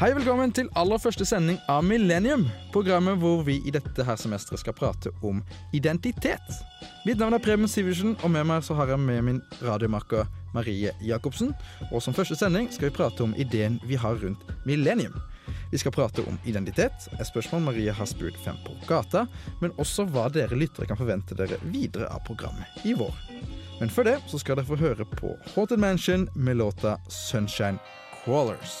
Hei, velkommen til aller første sending av Millennium. Programmet hvor vi i dette her semesteret skal prate om identitet. Mitt navn er Preben Sivertsen, og med meg så har jeg med min radiomaker Marie Jacobsen. Og som første sending skal vi prate om ideen vi har rundt millennium. Vi skal prate om identitet, et spørsmål Marie har spurt fem på gata, men også hva dere lyttere kan forvente dere videre av programmet i vår. Men før det så skal dere få høre på Haunted Mansion med låta Sunshine Crawlers.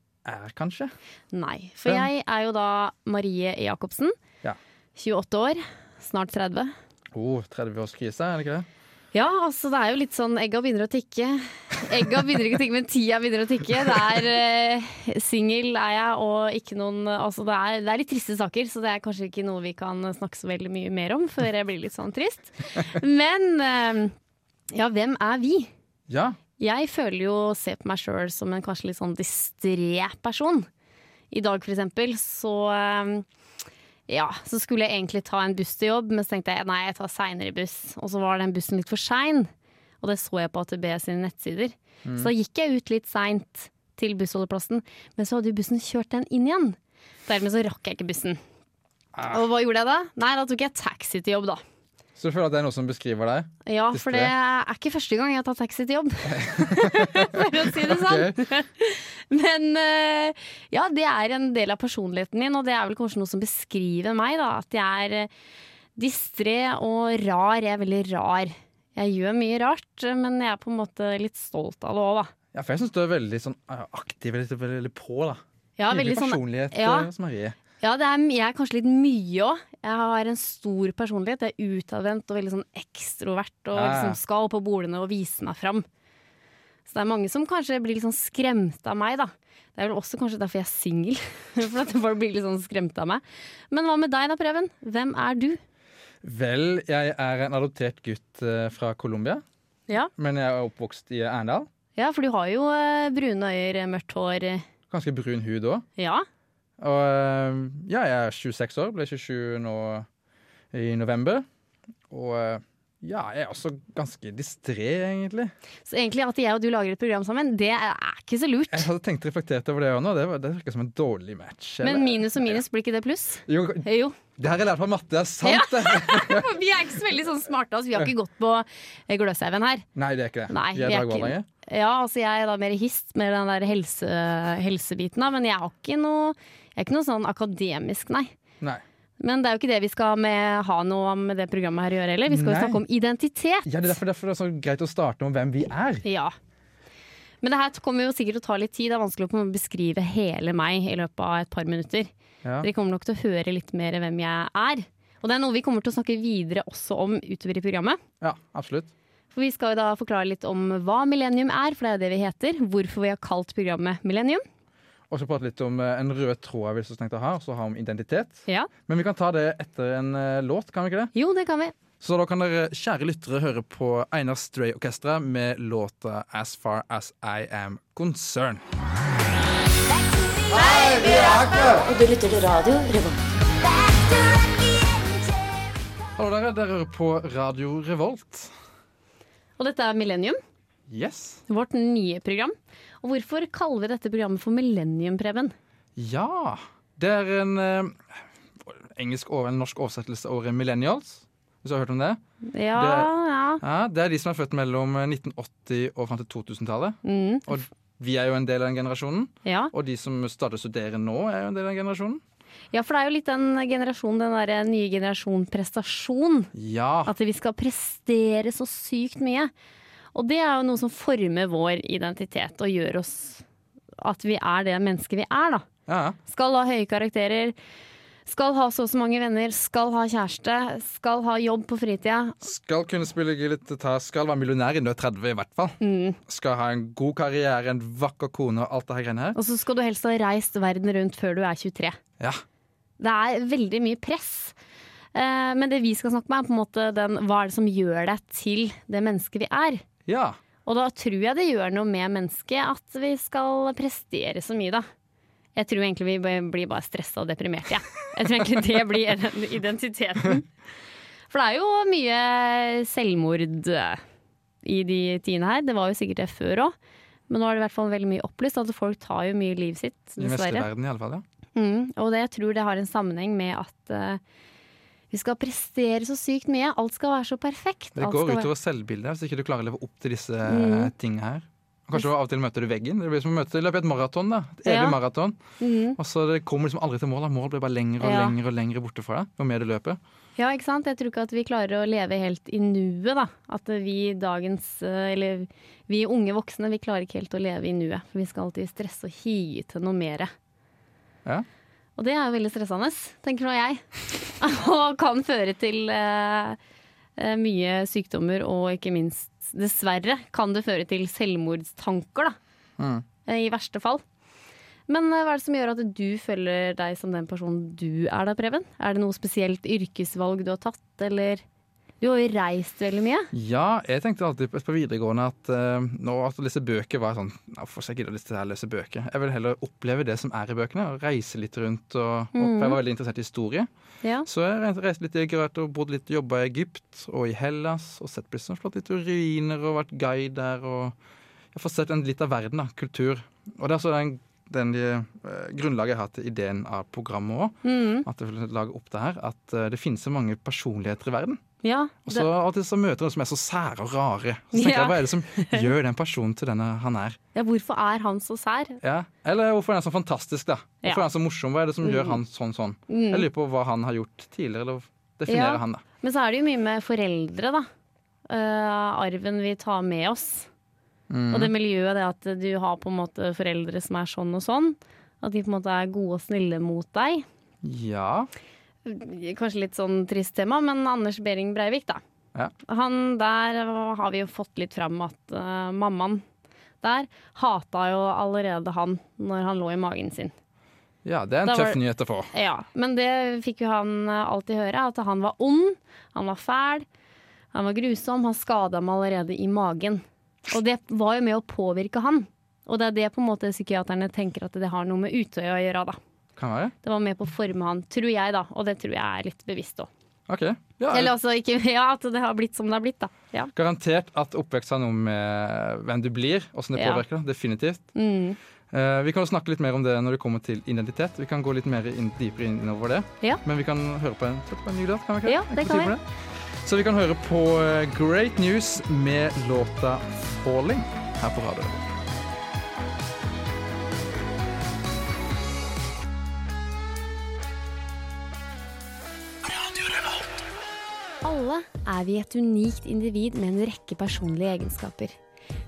er, kanskje. Nei. For Ja. jeg er jo da Marie E. Jacobsen. Ja. 28 år. Snart 30. Oh, 30-årskrise, er det ikke det? Ja, altså det er jo litt sånn egga begynner å tikke. Egga begynner ikke å tikke, men tida begynner å tikke. Det er eh, singel er jeg, og ikke noen Altså det er, det er litt triste saker, så det er kanskje ikke noe vi kan snakke så veldig mye mer om før jeg blir litt sånn trist. Men eh, ja, hvem er vi? Ja. Jeg føler jo å se på meg sjøl som en kanskje litt sånn distré person. I dag for eksempel, så eh, ja, så skulle jeg egentlig ta en buss til jobb, men så tenkte jeg nei, jeg tar seinere buss. Og så var den bussen litt for sein, og det så jeg på AtB sine nettsider. Så da gikk jeg ut litt seint til bussholdeplassen, men så hadde jo bussen kjørt den inn igjen. Dermed så rakk jeg ikke bussen. Ah. Og hva gjorde jeg da? Nei, da tok jeg taxi til jobb, da. Så du føler at det er noe som beskriver deg? Ja, for det Distré. er ikke første gang jeg tar taxi til jobb, for å si det sånn. Ok. Men eh, ja, det er en del av personligheten min, og det er vel kanskje noe som beskriver meg, da. At jeg er eh, distré og rar. Jeg er veldig rar. Jeg gjør mye rart, eh, men jeg er på en måte litt stolt av det òg, da. Ja, for jeg syns du er veldig sånn eh, aktiv, veldig, veldig, veldig på, da. Ja, veldig sånn, personlighet ja. eh, hos Marie. ja det er, jeg er kanskje litt mye òg. Jeg har en stor personlighet. Jeg er utadvendt og veldig sånn ekstrovert og Ja, ja. liksom skal på bordene og vise meg fram. Så det er mange som kanskje blir litt sånn skremt av meg, da. Det er vel også kanskje derfor jeg er singel. For at folk blir litt sånn skremt av meg. Men hva med deg da, Preben? Hvem er du? Vel, jeg er en adoptert gutt eh, fra Colombia, Ja, men jeg er oppvokst i Arendal. for du har jo eh, brune øyer, mørkt hår. eh, Ganske brun hud òg. Ja. Og eh, ja, jeg er 26 år, ble 27 nå i november. Og eh, ja, jeg er også ganske distré, egentlig. Så egentlig at jeg og du lager et program sammen, det er er ikke så lurt. Jeg hadde tenkt reflektert over det òg nå, det, var- det virker som en dårlig match. eller? Men minus og minus, blir ikke det pluss? Jo, Eh, Jo. det her er lært fra matte, det er sant! det. For vi er ikke så veldig sånn smarte av oss. Vi har ikke gått på eh, Gløshaugen her. Nei, det er ikke det. Nei, jeg vi er er ikke- dagbarnlege. Ja, altså jeg er da mer hist med den der helse, helsebiten, da, men jeg, har ikke noe, jeg er ikke noe sånn akademisk, nei. Nei. Men det er jo ikke det vi skal med, ha noe med det programmet her å gjøre heller. Vi skal jo Nei. snakke om identitet. Ja, det er derfor, derfor det er så greit å starte med hvem vi er. Ja. Men det her kommer jo sikkert til å ta litt tid. Det er vanskelig å på en måte beskrive hele meg i løpet av et par minutter. Ja. Dere kommer nok til å høre litt mer hvem jeg er. Og det er noe vi kommer til å snakke videre også om utover i programmet. Ja, absolutt. For Vi skal jo da forklare litt om hva Millennium er, for det er jo det vi heter. Hvorfor vi har kalt programmet Millennium. Og så prate litt om eh, en rød tråd jeg vil så tenkt å ha, og så ha om identitet. Ja. Men vi kan ta det etter en eh, låt, kan vi ikke det? Jo, det kan vi. Så da kan dere, kjære lyttere, høre på Einar Stray Orkestra med låta 'As Far As I Am Concerned'. Og du lytter til radio Revolt. Hallo dere, dere hører på Radio Revolt. Og dette er Millennium, Yes. vårt nye program. Og hvorfor kaller vi dette programmet for Millennium, Preben? Ja. Det er en eh, engelsk over, en norsk oversettelse av ordet millennials. Hvis du har hørt om det? Ja, ja. Ja, Det er de som er født mellom 1980 og fram til 2000-tallet. Mm, Og vi er jo en del av den generasjonen. ja. Og de som stadig studerer nå, er jo en del av den generasjonen. ja, for det er jo litt den generasjonen, den derre nye generasjon prestasjon. Ja. At vi skal prestere så sykt mye. Og det er jo noe som former vår identitet og gjør oss at vi er det mennesket vi er, da. ja. Skal ha høye karakterer, Skal ha så og så mange venner, skal ha kjæreste, skal ha jobb på fritida. Skal kunne spille gitar, skal være millionær innen du er 30 i hvert fall. Mm. Skal ha en god karriere, en vakker kone og alt det her greiene her. Og så skal du helst ha reist verden rundt før du er 23. Ja. Det er veldig mye press. Eh, Men det vi skal snakke om, er på en måte den hva er det som gjør deg til det mennesket vi er. ja. Og da tror jeg det gjør noe med mennesket at vi skal prestere så mye, da. Jeg tror egentlig vi b- blir bare stressa og deprimerte, jeg. Jeg tror egentlig det blir den identiteten. For det er jo mye selvmord eh, i de tidene her. Det var jo sikkert det før òg. Men nå er det i hvert fall veldig mye opplyst at folk tar jo mye livet sitt, I den vestlige dessverre. verden i alle fall, ja. Mm, og det, jeg tror det har en sammenheng med at eh, vi skal prestere så sykt mye. Alt skal være så perfekt. Det Alt går skal være- Mm. utover selvbildet hvis ikke du klarer å leve opp til disse eh, tingene her. Og Kanskje av og til møter du veggen. Det blir som å møte løpe et maraton. da. Et evig Ja. maraton. Mhm. Og så det kommer liksom aldri til mål. da. Mål blir bare lengre og Ja. lengre og lengre borte fra deg. Jo mer du løper. Ja, ikke sant? Jeg tror ikke at vi klarer å leve helt i nuet, da. At vi dagens, eh, eller vi unge voksne, vi klarer ikke helt å leve i nuet. For vi skal alltid stresse og hige til noe mere. Ja. Og det er jo veldig stressende, tenker nå jeg. og kan føre til eh, eh, mye sykdommer, og ikke minst, dessverre, kan det føre til selvmordstanker, da. Mm. Eh, I verste fall. Men eh, hva er det som gjør at du føler deg som den personen du er da, Preben? Er det noe spesielt yrkesvalg du har tatt, eller Du har jo reist veldig mye. Ja, jeg tenkte alltid på, på videregående at eh, nå at å lese bøker var sånn Hvorfor skal jeg gidde å lese, lese bøker? Jeg vil heller oppleve det som er i bøkene, og reise litt rundt. Og, og, for jeg var veldig interessert i historie. Ja. Så jeg reiste litt i Egypt og bodde litt, jobba i Egypt og i Hellas. Og sett på liksom flott litt ruiner og vært guide der. Og jeg får sett en litt av verden, da. Kultur. Og det er så den, den eh, grunnlaget jeg har til ideen av programmet òg. Mm. At jeg vil lage opp det her. At eh, det finnes så mange personligheter i verden. ja. Og så Det, av og til så møter jeg noen som er så sære og rare. Så tenker Ja. jeg, Hva er det som gjør den personen til den han er? ja, hvorfor er han så sær? Ja. Eller hvorfor er han så fantastisk? da? Hvorfor Ja. Mm. er han så morsom? Hva er det som gjør han sånn sånn? Jeg lurer på hva han har gjort tidligere, eller definerer Ja. han da. Men så er det jo mye med foreldre, da. Eh, arven vi tar med oss. Og det miljøet, det at du har på en måte foreldre som er sånn og sånn. At de på en måte er gode og snille mot deg. Ja. kanskje litt sånn trist tema, men Anders Behring Breivik, da. Ja. Han der har vi jo fått litt fram at eh, mammaen der hata jo allerede han når han lå i magen sin. ja, det er en Da var tøff det- nyhet å få. Ja, Men det fikk jo han eh, alltid høre, at han var ond, han var fæl, han var grusom, han skada meg allerede i magen. Og det var jo med å påvirke han. Og det er det på en måte psykiaterne tenker at det har noe med Utøya å gjøre, da. Kan være. Det var med på å forme han, tror jeg, da. Og det tror jeg er litt bevisst òg. Ok. Ja, Eller altså ikke Ja, at det har blitt som det har blitt, da. Ja. Garantert at oppvekst har noe med hvem du blir, åssen det Ja. påvirker deg. Definitivt. Eh, vi kan jo snakke litt mer om det når det kommer til identitet. Vi kan gå litt mer inn, dypere innover det. Ja. Men vi kan høre på en, på en ny låt, kan vi ikke? Ja, det Er kan tid for det? Så vi kan høre på eh, Great News med låta 'Falling' her på radioen. Alle er vi et unikt individ med en rekke personlige egenskaper.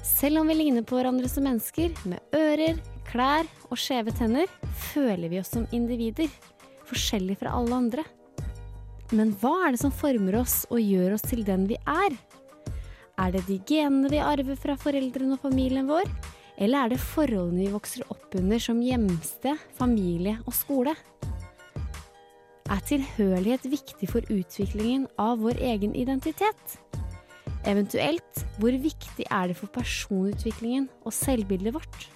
Selv om vi ligner på hverandre som mennesker, med ører, klær og skjeve tenner, føler vi oss som individer, forskjellig fra alle andre. Men hva er det som former oss og gjør oss til den vi er? Er det de genene vi arver fra foreldrene og familien vår, eller er det forholdene vi vokser opp under som hjemsted, familie og skole? Er tilhørighet viktig for utviklingen av vår egen identitet? Eventuelt, hvor viktig er det for personutviklingen og selvbildet vårt?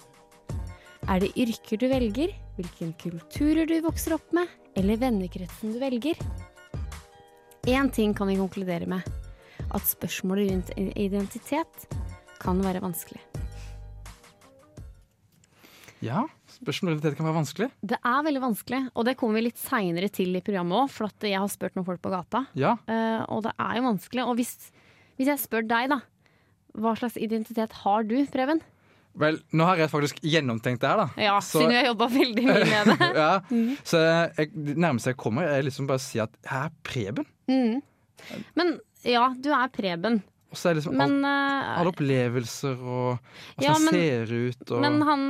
Er det yrker du velger, hvilken kulturer du vokser opp med, eller vennekretsen du velger? Én ting kan vi konkludere med, at spørsmålet rundt identitet kan være vanskelig. Ja, spørsmål om identitet kan være vanskelig. Det er veldig vanskelig, og det kommer vi litt seinere til i programmet òg, for at jeg har spurt noen folk på gata. Ja. Eh, og det er jo vanskelig. Og hvis, hvis jeg spør deg, da. Hva slags identitet har du, Preben? Vel, nå har jeg faktisk gjennomtenkt det her, da. Ja, Mhm. Så- siden vi har jobba veldig mye med det. ja. Så jeg, det nærmeste jeg kommer, er liksom bare å si at jeg er Preben. Men ja, du er Preben. Og så er liksom alt Men, Alle eh, opplevelser og hvordan Ja, han men- ser ut og men han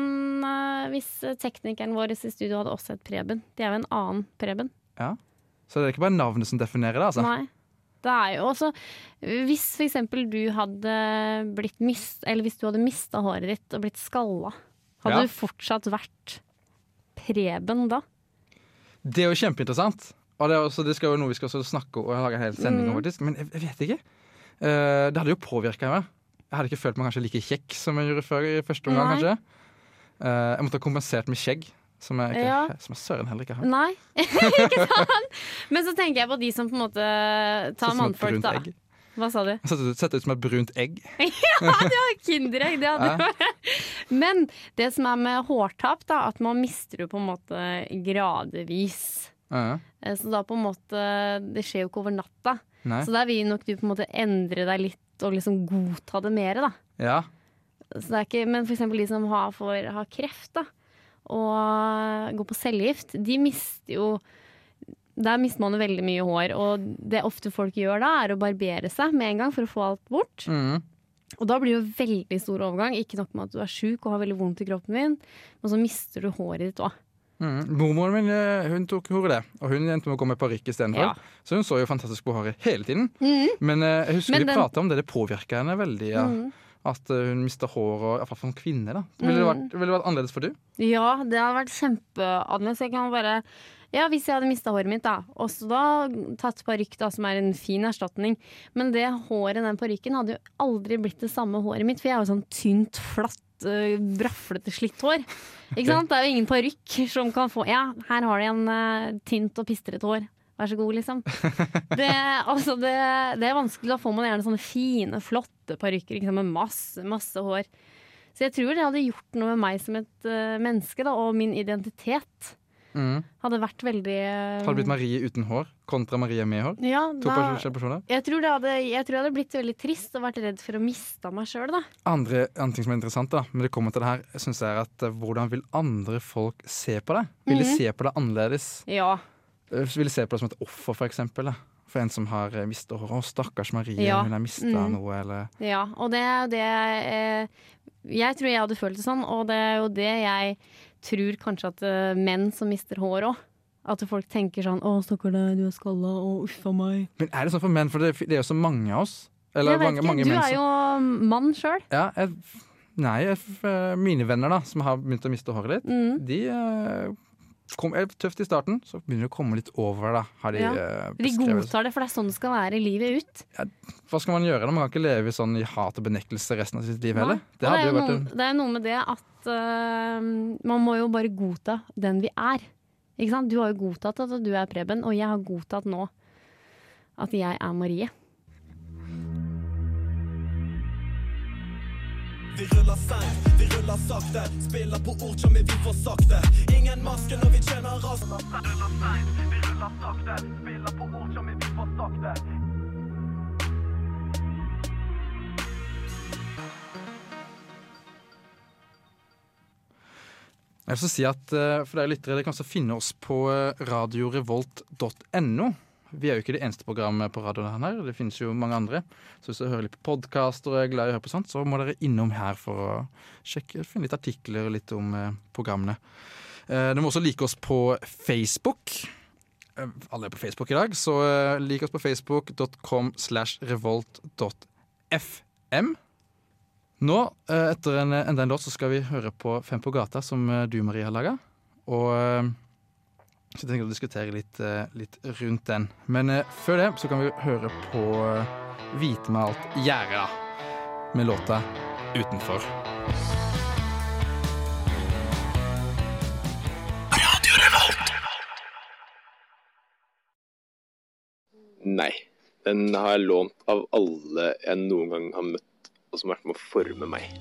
eh, Hvis teknikeren vår i studio hadde også et Preben. Det er jo en annen Preben. Ja. Så det er ikke bare navnet som definerer det, altså. Nei. Det er jo også Hvis for eksempel du hadde blitt mist Eller hvis du hadde mista håret ditt og blitt skalla, Ja. hadde du fortsatt vært Preben da? Det er jo kjempeinteressant. Og det, er også, det skal jo noe vi skal også snakke om og lage en hel sending om, Mm. faktisk. Men jeg, jeg vet ikke. Eh, det hadde jo påvirka meg. Jeg hadde ikke følt meg kanskje like kjekk som jeg gjorde før i første omgang, Nei. kanskje. Eh, jeg måtte ha kompensert med skjegg, som jeg, ikke, Ja. som jeg søren heller ikke har. Nei. ikke sant? Men så tenker jeg på de som på en måte Sånn tar som et mannfolk, brunt da. egg. Hva sa du? Jeg Sett ut, sett ut som et brunt egg. Kinderegg, det hadde jo Men det som er med hårtap, da, at man mister jo på en måte gradvis. Ja, Eh, Så da på en måte Det skjer jo ikke over natta. nei. Så da vil nok du på en måte endre deg litt og liksom godta det mer, da. Ja. Så det er ikke, men for eksempel de som har, får, har kreft da, og går på cellegift, de mister jo Der mister man jo veldig mye hår. Og det ofte folk gjør da, er å barbere seg med en gang for å få alt bort. Mm. Og da blir det jo veldig stor overgang. Ikke nok med at du er sjuk og har veldig vondt i kroppen din, men så mister du håret ditt òg. Mm. Mormoren min eh, hun tok hår i det, og hun endte med å gå med parykk istedenfor. Ja. Mm. Så hun så jo fantastisk på håret hele tiden. Men eh, jeg husker Men vi den- Mm. prata om det, det påvirka henne veldig. Ja. At eh, hun mista hår, og iallfall som kvinne. da Ville det Mm. vært, ville det vært annerledes for du? Ja, det hadde vært kjempeannerledes. Jeg kan bare Ja, hvis jeg hadde mista håret mitt, da. Og så da tatt parykk, da, som er en fin erstatning. Men det håret, den parykken, hadde jo aldri blitt det samme håret mitt. For jeg har jo sånn tynt, flatt, øh, braflete, slitt hår. Ikke sant? Det er jo ingen parykk som kan få Ja, her har du en øh, tynt og pistrete hår. Vær så god, liksom. Det, altså det, det er vanskelig. Da får man gjerne sånne fine, flotte parykker ikke sant, med masse, masse hår. Så jeg tror det hadde gjort noe med meg som et eh, menneske, da, og min identitet. Mm. Hadde vært veldig eh, Hadde det blitt Marie uten hår kontra Marie med hår? ja, To da, forskjellige personer jeg, tror det hadde, jeg tror jeg hadde blitt veldig trist og vært redd for å miste meg sjøl, da. Andre, andre ting som er interessant, da men det kommer til det her, jeg synes jeg er at eh, hvordan vil andre folk se på deg? Vil Mm. de se på deg annerledes? Ja. Eh, Vil de se på deg som et offer, for eksempel? Da? For en som har eh, mistet håret. Å, stakkars Marie, Ja. hun har mista Mm. noe, eller ja. Og det er jo det eh, Jeg tror jeg hadde følt det sånn, og det er jo det jeg tror kanskje at eh, menn som mister hår òg. At folk tenker sånn 'Å, stakkar deg, du er skalla. Å, uffa meg'. Men er det sånn for menn? For det, det er jo så mange av oss. Eller jeg vet mange, ikke, mange du menn er som jo mann sjøl. ja, jeg, Nei, jeg, eh, mine venner da som har begynt å miste håret litt, Mm. de eh, kom er tøft i starten, så begynner de å komme litt over det, da, har de Ja. eh, De beskrevet. godtar det, for det er sånn det skal være livet ut. Hva skal man gjøre da? Man kan ikke leve i sånn i hat og benektelse resten av sitt liv heller. Nei. Det Og det, hadde er jo jo vært en noe, det er jo noe med det at øh, man må jo bare godta den vi er. Ikke sant? Du har jo godtatt at du er Preben, og jeg har godtatt nå at jeg er Marie. Vi rullar seint, vi rullar sakte Spiller på ord som vi får sakte Ingen maske når vi kjenner oss Rullar seint, vi rullar sakte Spiller på ord som vi får sakte Jeg vil også si at eh, for dere lyttere, dere kan også finne oss på eh, radiorevolt.no. Vi er jo ikke det eneste programmet på radioen her, det finnes jo mange andre. Så hvis dere hører litt på podkaster og er glad i å høre på sånt, så må dere innom her for å sjekke, finne litt artikler og litt om eh, programmene. Eh, dere må også like oss på Facebook. Eh, alle er på Facebook i dag, så eh, lik oss på facebook.com slash revolt.fm. Nå, eh, etter en, enda en låt, så skal vi høre på Fem på gata, som eh, du, Marie, har laga. Og eh, så tenker jeg å diskutere litt, eh, litt rundt den. Men eh, før det så kan vi høre på eh, Hvitmalt gjerde, da. Med låta 'Utenfor'. Nei. Den har jeg lånt av alle jeg noen gang har møtt, og som har vært med å forme meg.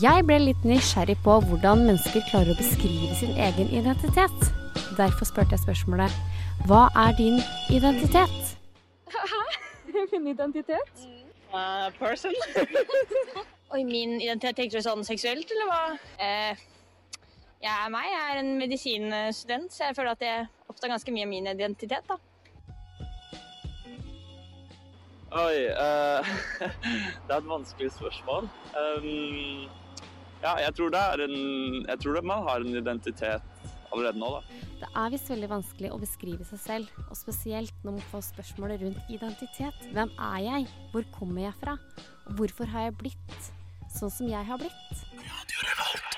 Jeg ble litt nysgjerrig på hvordan mennesker klarer å beskrive sin egen identitet. Derfor spurte jeg spørsmålet Hva er din identitet? Uh, person. Oi, min identitet, tenkte du sånn seksuelt, eller hva? jeg er Eh, meg, jeg er en medisinstudent, så jeg føler at jeg oppdager ganske mye av min identitet, da. Oi eh, Det er et vanskelig spørsmål. Um, ja, jeg tror det er en Jeg tror det man har en identitet allerede nå, da? Det er visst veldig vanskelig å beskrive seg selv, og spesielt når man får spørsmålet rundt identitet. Hvem er jeg? Hvor kommer jeg fra? Og hvorfor har jeg blitt sånn som jeg har blitt?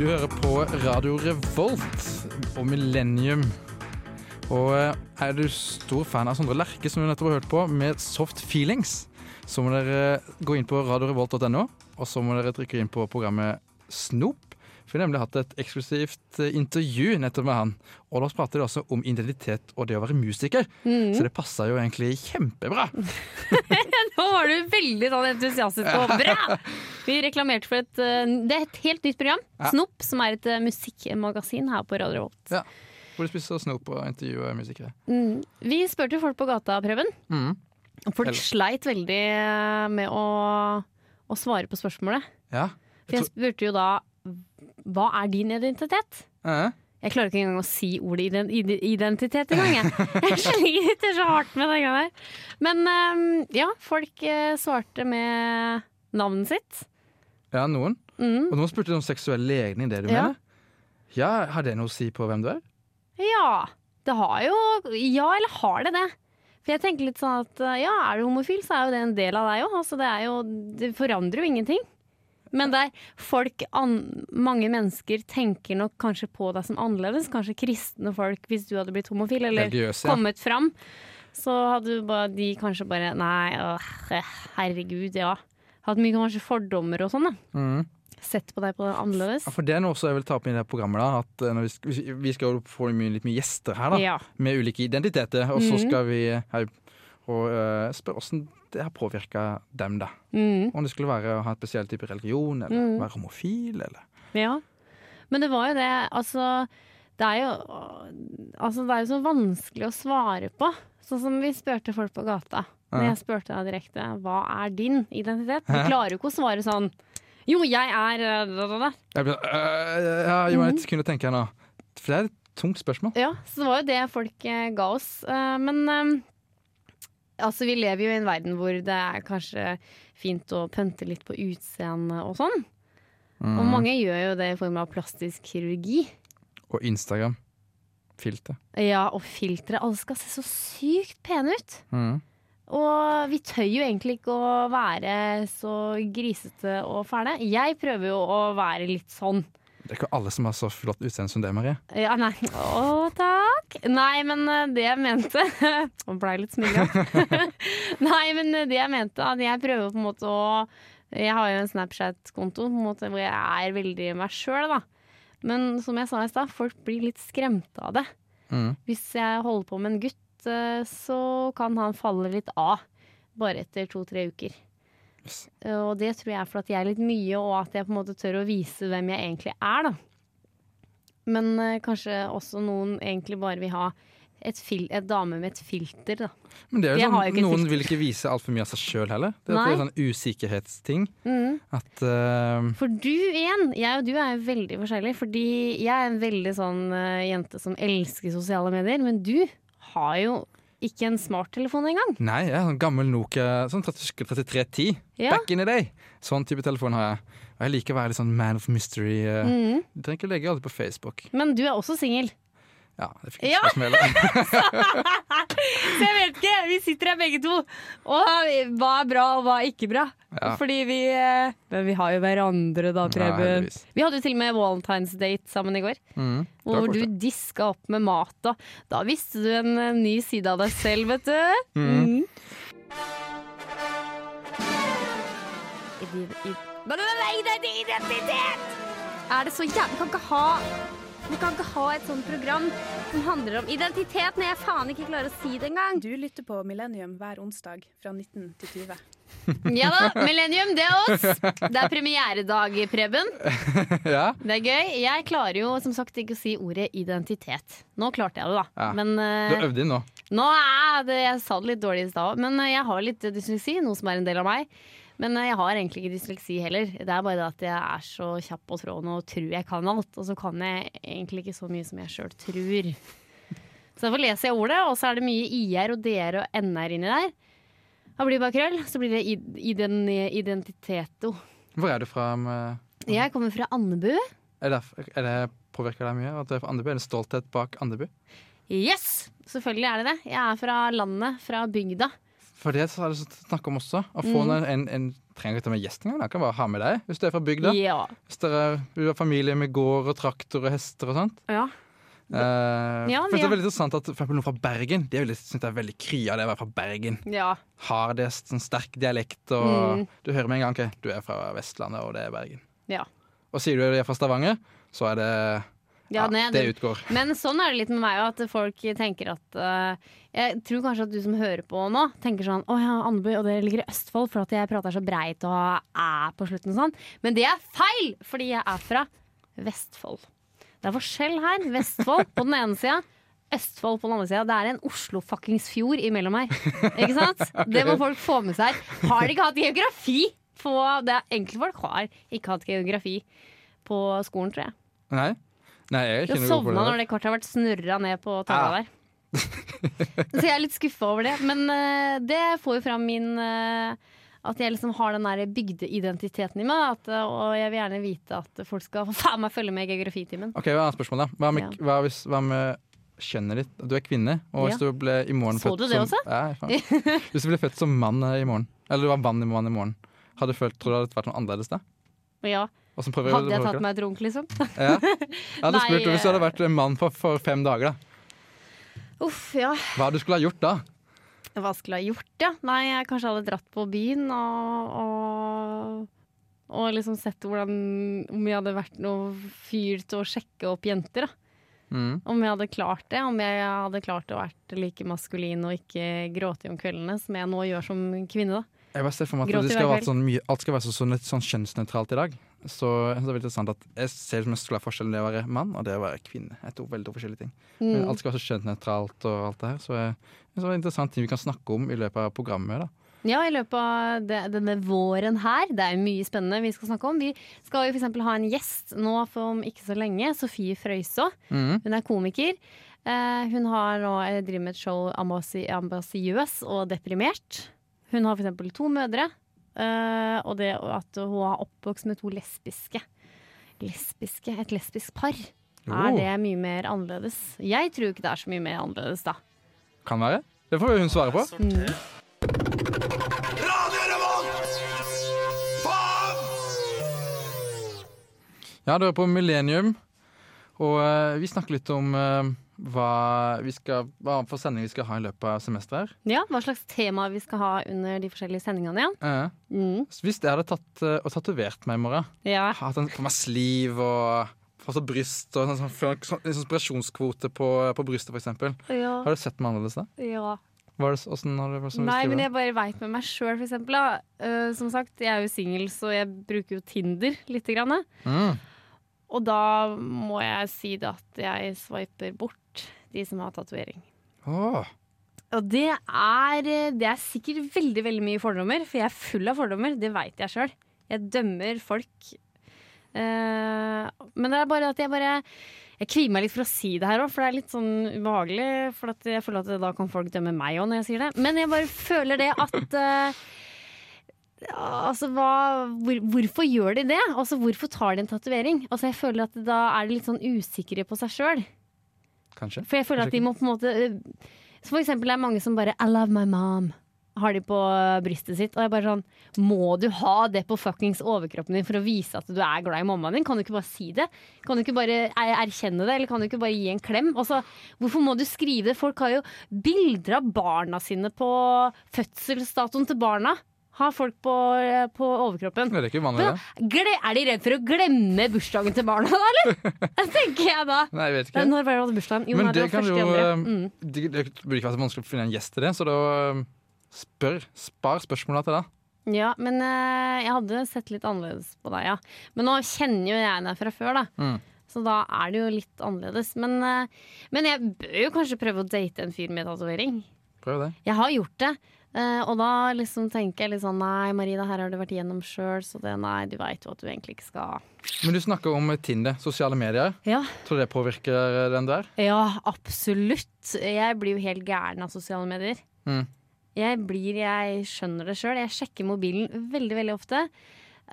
Du hører på Radio Revolt og Millennium. Og eh, er du stor fan av Sondre Lerche, som du nettopp har hørt på, med Soft Feelings, så må dere eh, gå inn på radiorevolt.no, og så må dere trykke inn på programmet Snop. For vi har nemlig hatt et eksklusivt eh, intervju nettopp med han. Og da prater de også om identitet og det å være musiker. Så det passer jo egentlig kjempebra. Nå var du veldig sånn entusiastisk og bra! Vi reklamerte for et eh, Det er et helt nytt program, Ja. Snop, som er et eh, musikkmagasin her på Radio Revolt. Ja. Hvor de spiser snop og intervjuer musikere. Mm. Vi spurte jo folk på gata, Preben. Mm. Og folk Eller- sleit veldig eh, med å, å svare på spørsmålet. Ja. For jeg spurte jo da hva er din identitet? Eh, Jeg klarer ikke engang å si ordet ident ide- identitet engang. Jeg, jeg sliter så hardt med den gangen der. Men eh, ja, folk eh, svarte med navnet sitt. ja, noen. Mm. Og nå spurte du om seksuell legning, det du Ja. mener? Ja, Har det noe å si på hvem du er? Ja, det har jo Ja, eller har det det? For jeg tenker litt sånn at ja, er du homofil, så er jo det en del av deg òg. Altså, det, er jo- det forandrer jo ingenting. Men det er folk an, mange mennesker tenker nok kanskje på deg som annerledes. Kanskje kristne folk, hvis du hadde blitt homofil eller Religiøs, ja. kommet fram. Så hadde du bare, de kanskje bare Nei, åh, herregud, ja. Hatt mye kanskje fordommer og sånn. da. Mhm. Sett på deg på det annerledes. Ja, For det er noe også jeg vil ta opp i det programmet. da at eh, når Vi skal, vi skal jo få mye, litt mye gjester her, da, Ja. med ulike identiteter. Og så Mhm. skal vi her, og, eh, spørre åssen det har påvirka dem, da. Mm. Om det skulle være å ha en spesiell type religion, eller Mhm. være homofil, eller Ja. Men det var jo det, altså det er jo, altså det er jo så vanskelig å svare på. Sånn som vi spurte folk på gata. Når Ja. jeg spurte deg direkte hva er din identitet, du klarer jo ikke å svare sånn Jo, jeg er eh, da, da, da. Jeg blir, øh, ja, jo, Mhm. jeg kunne tenke her nå. For det er et tungt spørsmål. Ja, så det var jo det folk eh, ga oss. Eh, men eh, altså, vi lever jo i en verden hvor det er kanskje fint å pønte litt på utseende og sånn. Og Mm. mange gjør jo det i form av plastisk kirurgi. Og Instagram. Filter. Ja, og filtre. Alle skal se så sykt pene ut. Mhm. Og vi tør jo egentlig ikke å være så grisete og fæle. Jeg prøver jo å være litt sånn. Det er ikke alle som har så flott utseende som det, Marie. Ja, nei. Å, takk. Nei, men eh, det jeg mente Og blei litt smigra. nei, men eh, det jeg mente, at jeg prøver på en måte å Jeg har jo en Snapchat-konto på en måte, hvor jeg er veldig meg sjøl, da. Men som jeg sa i stad, folk blir litt skremte av det. Mhm. Hvis jeg holder på med en gutt, eh, så kan han falle litt av. Bare etter to-tre uker. Yes. Eh, Og det tror jeg er fordi jeg er litt mye, og at jeg på en måte tør å vise hvem jeg egentlig er, da. Men eh, kanskje også noen egentlig bare vil ha et, fil et dame med et filter, da. Men det er jo Jeg har sånn, jo ikke noen filter. vil ikke vise altfor mye av seg sjøl heller. Det er Nei. Mm. en sånn usikkerhetsting. At eh, For du igjen, jeg og du er jo veldig forskjellige. Fordi jeg er en veldig sånn eh, jente som elsker sosiale medier, men du har jo ikke en smarttelefon engang. Nei, jeg er sånn gammel Nokia, sånn 30 3310. Ja. Back in the day. Sånn type telefon har jeg. Og jeg liker å være litt sånn man of mystery. eh. Mm. Du trenger ikke legge alt på Facebook. Men du er også singel. Ja, det fikk jeg Ja. ikke spørsmål heller. Så jeg vet ikke, vi sitter her begge to. Og hva er bra, og hva er ikke bra? Ja. Fordi vi eh, Men vi har jo hverandre, da, Preben. heldigvis. vi hadde jo til og med Valentine's Date sammen i går. Mhm. Det var Hvor du koselig. diska opp med mat. Da, da visste du en eh, ny side av deg selv, vet du. Mm. Ide- i- Men det er ide- identitet! Er det så jævlig Vi kan ikke ha vi kan ikke ha et sånt program som handler om identitet når jeg faen ikke klarer å si det engang. Du lytter på Millennium hver onsdag fra 19 til 20. Ja da, Millennium, det er oss. Det er premieredag, Preben. ja. Det er gøy. Jeg klarer jo som sagt ikke å si ordet identitet. Nå klarte jeg det, da. Ja. Men Du eh, øvde inn nå. nå er det, jeg sa det litt dårlig i stad òg, men eh, jeg har litt dysleksi, noe som er en del av meg. Men eh, jeg har egentlig ikke dysleksi heller. Det er bare det at jeg er så kjapp på tråden og tror jeg kan alt. Og så kan jeg egentlig ikke så mye som jeg sjøl tror. Så derfor leser jeg ordet, og så er det mye IR og DR og NR inni der. Da blir det bare krøll. Så blir det id- iden- identiteto. Hvor er du fra? med- Jeg kommer fra Andebu. Er det, er det påvirker deg mye? At du er fra Andebu? Er det stolthet bak Andebu? Yes! Selvfølgelig er det det. Jeg er fra landet, fra bygda. For det så er det snakk om også. Å få Mm. en, en, en trenger ikke ta med gjest engang. Jeg kan bare ha med deg hvis du er fra bygda. Ja. Hvis dere er- du har familie med gård og traktor og hester og sånt. ja. Eh, Ja, for det ja. er veldig interessant at for eksempel noen fra Bergen De er veldig, synes jeg er veldig kry av det å være fra Bergen. ja. Har det sånn sterk dialekt og Mm. Du hører med en gang ok, du er fra Vestlandet og det er Bergen. Ja. Og sier du at du er fra Stavanger, så er det Ja, ja, nei, det det- utgår. Men sånn er det litt med meg òg, at folk tenker at eh, Jeg tror kanskje at du som hører på nå, tenker sånn Å ja, Andebu, og det ligger i Østfold, for at jeg prater så breit og æ på slutten og sånn. Men det er feil, fordi jeg er fra Vestfold. Det er forskjell her. Vestfold på den ene sida. Østfold på den andre sida. Det er en Oslo-fuckings fjord imellom her. Ikke sant? Det må folk få med seg. Har de ikke hatt geografi på det er Enkelte folk har ikke hatt geografi på skolen, tror jeg. Nei. Nei, jeg er Ah. Jeg ikke noe god på sovna det. når det kortet har vært snurra ned på tavla der. Så jeg er litt skuffa over det. Men eh, det får jo fram min eh, At jeg liksom har den der bygdeidentiteten i meg. da, At, eh, og jeg vil gjerne vite at folk skal faen meg følge med i geografitimen. Ok, hva er spørsmålet? da? Hva med, Ja. hva, hvis, hva med kjønnet ditt? Du er kvinne, og hvis du ble i morgen Så født du det som, Ja, faen. Hvis du ble født som mann eh, i morgen, eller du var mann i mann i morgen, hadde du følt, tror du det hadde vært noe annerledes da? Men ja, Og så prøver- Hadde jeg prøver tatt meg et runk, liksom? ikke det? Ja. Jeg hadde Nei, spurt deg hvis du hadde eh. vært en mann for, for fem dager, da. Uff, ja. hva du skulle ha gjort da? Hva skulle jeg ha gjort, ja? Nei, jeg kanskje hadde dratt på byen og, og og liksom sett hvordan, om jeg hadde vært noe fyr til å sjekke opp jenter. da Mm. Om jeg hadde klart det, om jeg hadde klart å være like maskulin og ikke gråte om kveldene som jeg nå gjør som kvinne. da. Jeg bare ser for meg at Gråt i det skal hver være sånn mye, alt skal være så, sånn, litt sånn kjønnsnøytralt i dag. Så jeg synes det er veldig interessant at jeg ser det som en stor forskjell det å være mann og det å være kvinne. Det er to veldig to forskjellige ting. Mm. Men alt skal være så kjønnsnøytralt og alt det her. Så eh, så det er interessant ting vi kan snakke om i løpet av programmet. da. Ja, i løpet av det, denne våren her, det er jo mye spennende vi skal snakke om. Vi skal jo f.eks. ha en gjest nå for om ikke så lenge. Sofie Frøysaa. Hun er komiker. Eh, hun har nå eh, driver med et show ambasi- ambisiøs og deprimert. Hun har f.eks. to mødre, eh, og det at hun har oppvokst med to lesbiske. lesbiske et lesbisk par. Oh. Er det mye mer annerledes? Jeg tror ikke det er så mye mer annerledes, da. Kan være. Det får hun svare på. Mm. Ja, du er på Millennium, og eh, vi snakker litt om eh, hva, vi skal, hva for sending vi skal ha i løpet av semesteret her. Ja, Hva slags tema vi skal ha under de forskjellige sendingene igjen? Eh, Mm. så hvis jeg hadde tatt eh, og tatovert meg i morgen, Ja. hatt en, på meg sliv og fortsatt bryst og sånn, sånn, sånn, sånn inspirasjonskvote på, på brystet, for eksempel ja, Har du sett meg annerledes da? ja. Hva er det, hvordan har du, hvordan Nei, beskriver men du jeg bare veit med meg sjøl, for eksempel. Da. Eh, som sagt, jeg er jo singel, så jeg bruker jo Tinder lite grann. da. det? Mm. Og da må jeg si det at jeg swiper bort de som har tatovering. Mm. Åh. Og det er, det er sikkert veldig veldig mye fordommer, for jeg er full av fordommer. Det veit jeg sjøl. Jeg dømmer folk. Eh, men det er bare at jeg bare Jeg kvier meg litt for å si det her òg, for det er litt sånn ubehagelig. For at jeg føler at da kan folk dømme meg òg når jeg sier det. Men jeg bare føler det at eh, Altså, hva, hvor, hvorfor gjør de det? Altså, hvorfor tar de en tatovering? Altså, jeg føler at da er de litt sånn usikre på seg sjøl. Kanskje. For jeg føler at de må på en måte øh, Så for eksempel er det mange som bare I love my mom har de på øh, brystet sitt. Og jeg bare sånn Må du ha det på fuckings overkroppen din for å vise at du er glad i mammaen din? Kan du ikke bare si det? Kan du ikke bare er- erkjenne det? Eller kan du ikke bare gi en klem? Altså, hvorfor må du skrive det? Folk har jo bilder av barna sine på fødselsdatoen til barna. Har folk på, øh, på overkroppen. Det er ikke uvanlig, Men, det. gle- er de redd for å glemme bursdagen til barna, da, eller? Det tenker jeg da. Nei, jeg vet Nei, ikke. Når var det du hadde bursdagen? Jo, Men nei, det var kan jo første i andre. eh, Mm. Det det burde ikke være så vanskelig å finne en gjest til det, så da eh, spør. Spar spørsmåla til deg. Ja, men eh, jeg hadde sett litt annerledes på deg, ja. Men nå kjenner jo jeg deg fra før, da. Mm. Så da er det jo litt annerledes. Men, eh, men jeg bør jo kanskje prøve å date en fyr med tatovering. Prøv det. Jeg har gjort det. eh, og da liksom tenker jeg litt sånn Nei, Marie, det her har du vært igjennom sjøl, så det Nei, du veit jo at du egentlig ikke skal Men du snakker om eh, Tinder, sosiale medier. Ja, Tror du det påvirker eh, den der? Ja, absolutt. Jeg blir jo helt gæren av sosiale medier. Mm. Jeg blir, jeg skjønner det sjøl. Jeg sjekker mobilen veldig veldig ofte.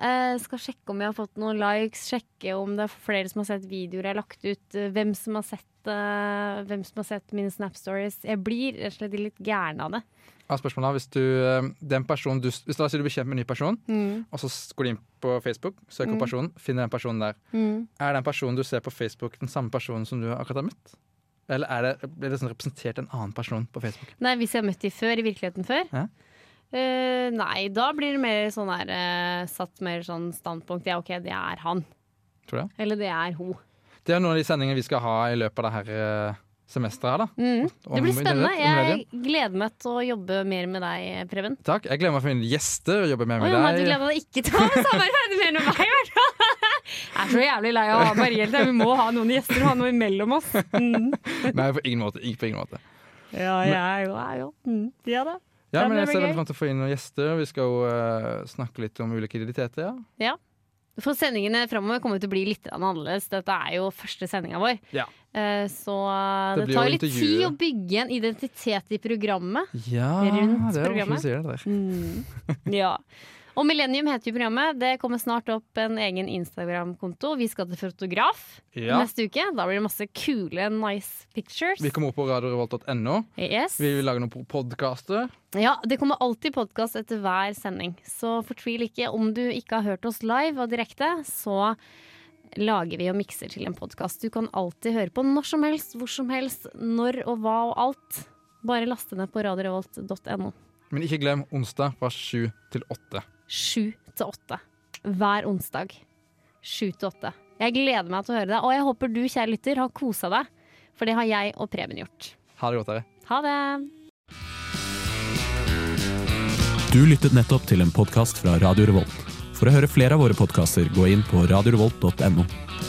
Eh, skal sjekke om jeg har fått noen likes, sjekke om det er flere som har sett videoer jeg har lagt ut. eh, Hvem som har sett, eh, hvem som har sett mine Snap Stories. Jeg blir rett og slett litt gæren av det. Jeg har spørsmålet hvis du, eh, den personen du, hvis la oss si du blir kjent med en ny person, Mm. og så s- går du inn på Facebook, søker opp personen, finner den personen der. Er den personen du ser på Facebook, den samme personen som du akkurat har møtt? Eller er det, blir det sånn representert en annen person på Facebook? Nei, Hvis jeg har møtt de før, i virkeligheten før? Ja. Eh, nei, da blir det mer sånn her eh, Satt mer sånn standpunkt. Ja, OK, det er han. Tror du det? Eller det er hun. Det er noen av de sendingene vi skal ha i løpet av det her eh, semesteret her, da. Mm. Om Det blir spennende. internet, Jeg medium. gleder meg til å jobbe mer med deg, Preben. Takk. Jeg gleder meg til å finne gjester og jobbe mer Å med ja, nei, du deg. gleder deg ikke til å ha samarbeid mellom meg, i hvert fall! Jeg er så jævlig lei av å ha Marie hele tiden. Vi må ha noen gjester og ha noe imellom oss. Mm. Nei, på ingen måte. Ikke på ingen måte. Ja, jeg er jo, jeg er jo. Mm. Ja da. Ja, Ja, men det jeg blir ser gøy. veldig fram til å få inn noen gjester. Vi skal jo eh, snakke litt om ulike identiteter, ja. For sendingene framover kommer til å bli litt grann annerledes. Dette er jo første sendinga vår. Ja. Eh, Så Det det, blir tar jo litt tid intervjuer. å bygge en identitet i programmet. Ja, Rundt det er hvorfor programmet. du sier det der. Mm. Ja. Og Millennium heter jo programmet. Det kommer snart opp en egen Instagram-konto. Vi skal til fotograf Ja. neste uke. Da blir det masse kule, nice pictures. Vi kommer opp på radiorevolt.no. Yes. Vi vil lage noen podkaster. Ja, det kommer alltid podkast etter hver sending, så fortvil ikke. Om du ikke har hørt oss live og direkte, så lager vi og mikser til en podkast. Du kan alltid høre på når som helst, hvor som helst, når og hva og alt. Bare laste ned på radiorevolt.no. Men ikke glem onsdag fra sju til åtte. Sju til åtte. Hver onsdag. Sju til åtte. Jeg gleder meg til å høre deg, og jeg håper du, kjære lytter, har kosa deg. For det har jeg og Preben gjort. Ha det godt, dere. Ha det! Du lyttet nettopp til en podkast fra Radio Revolt. For å høre flere av våre podkaster, gå inn på radiorevolt.no.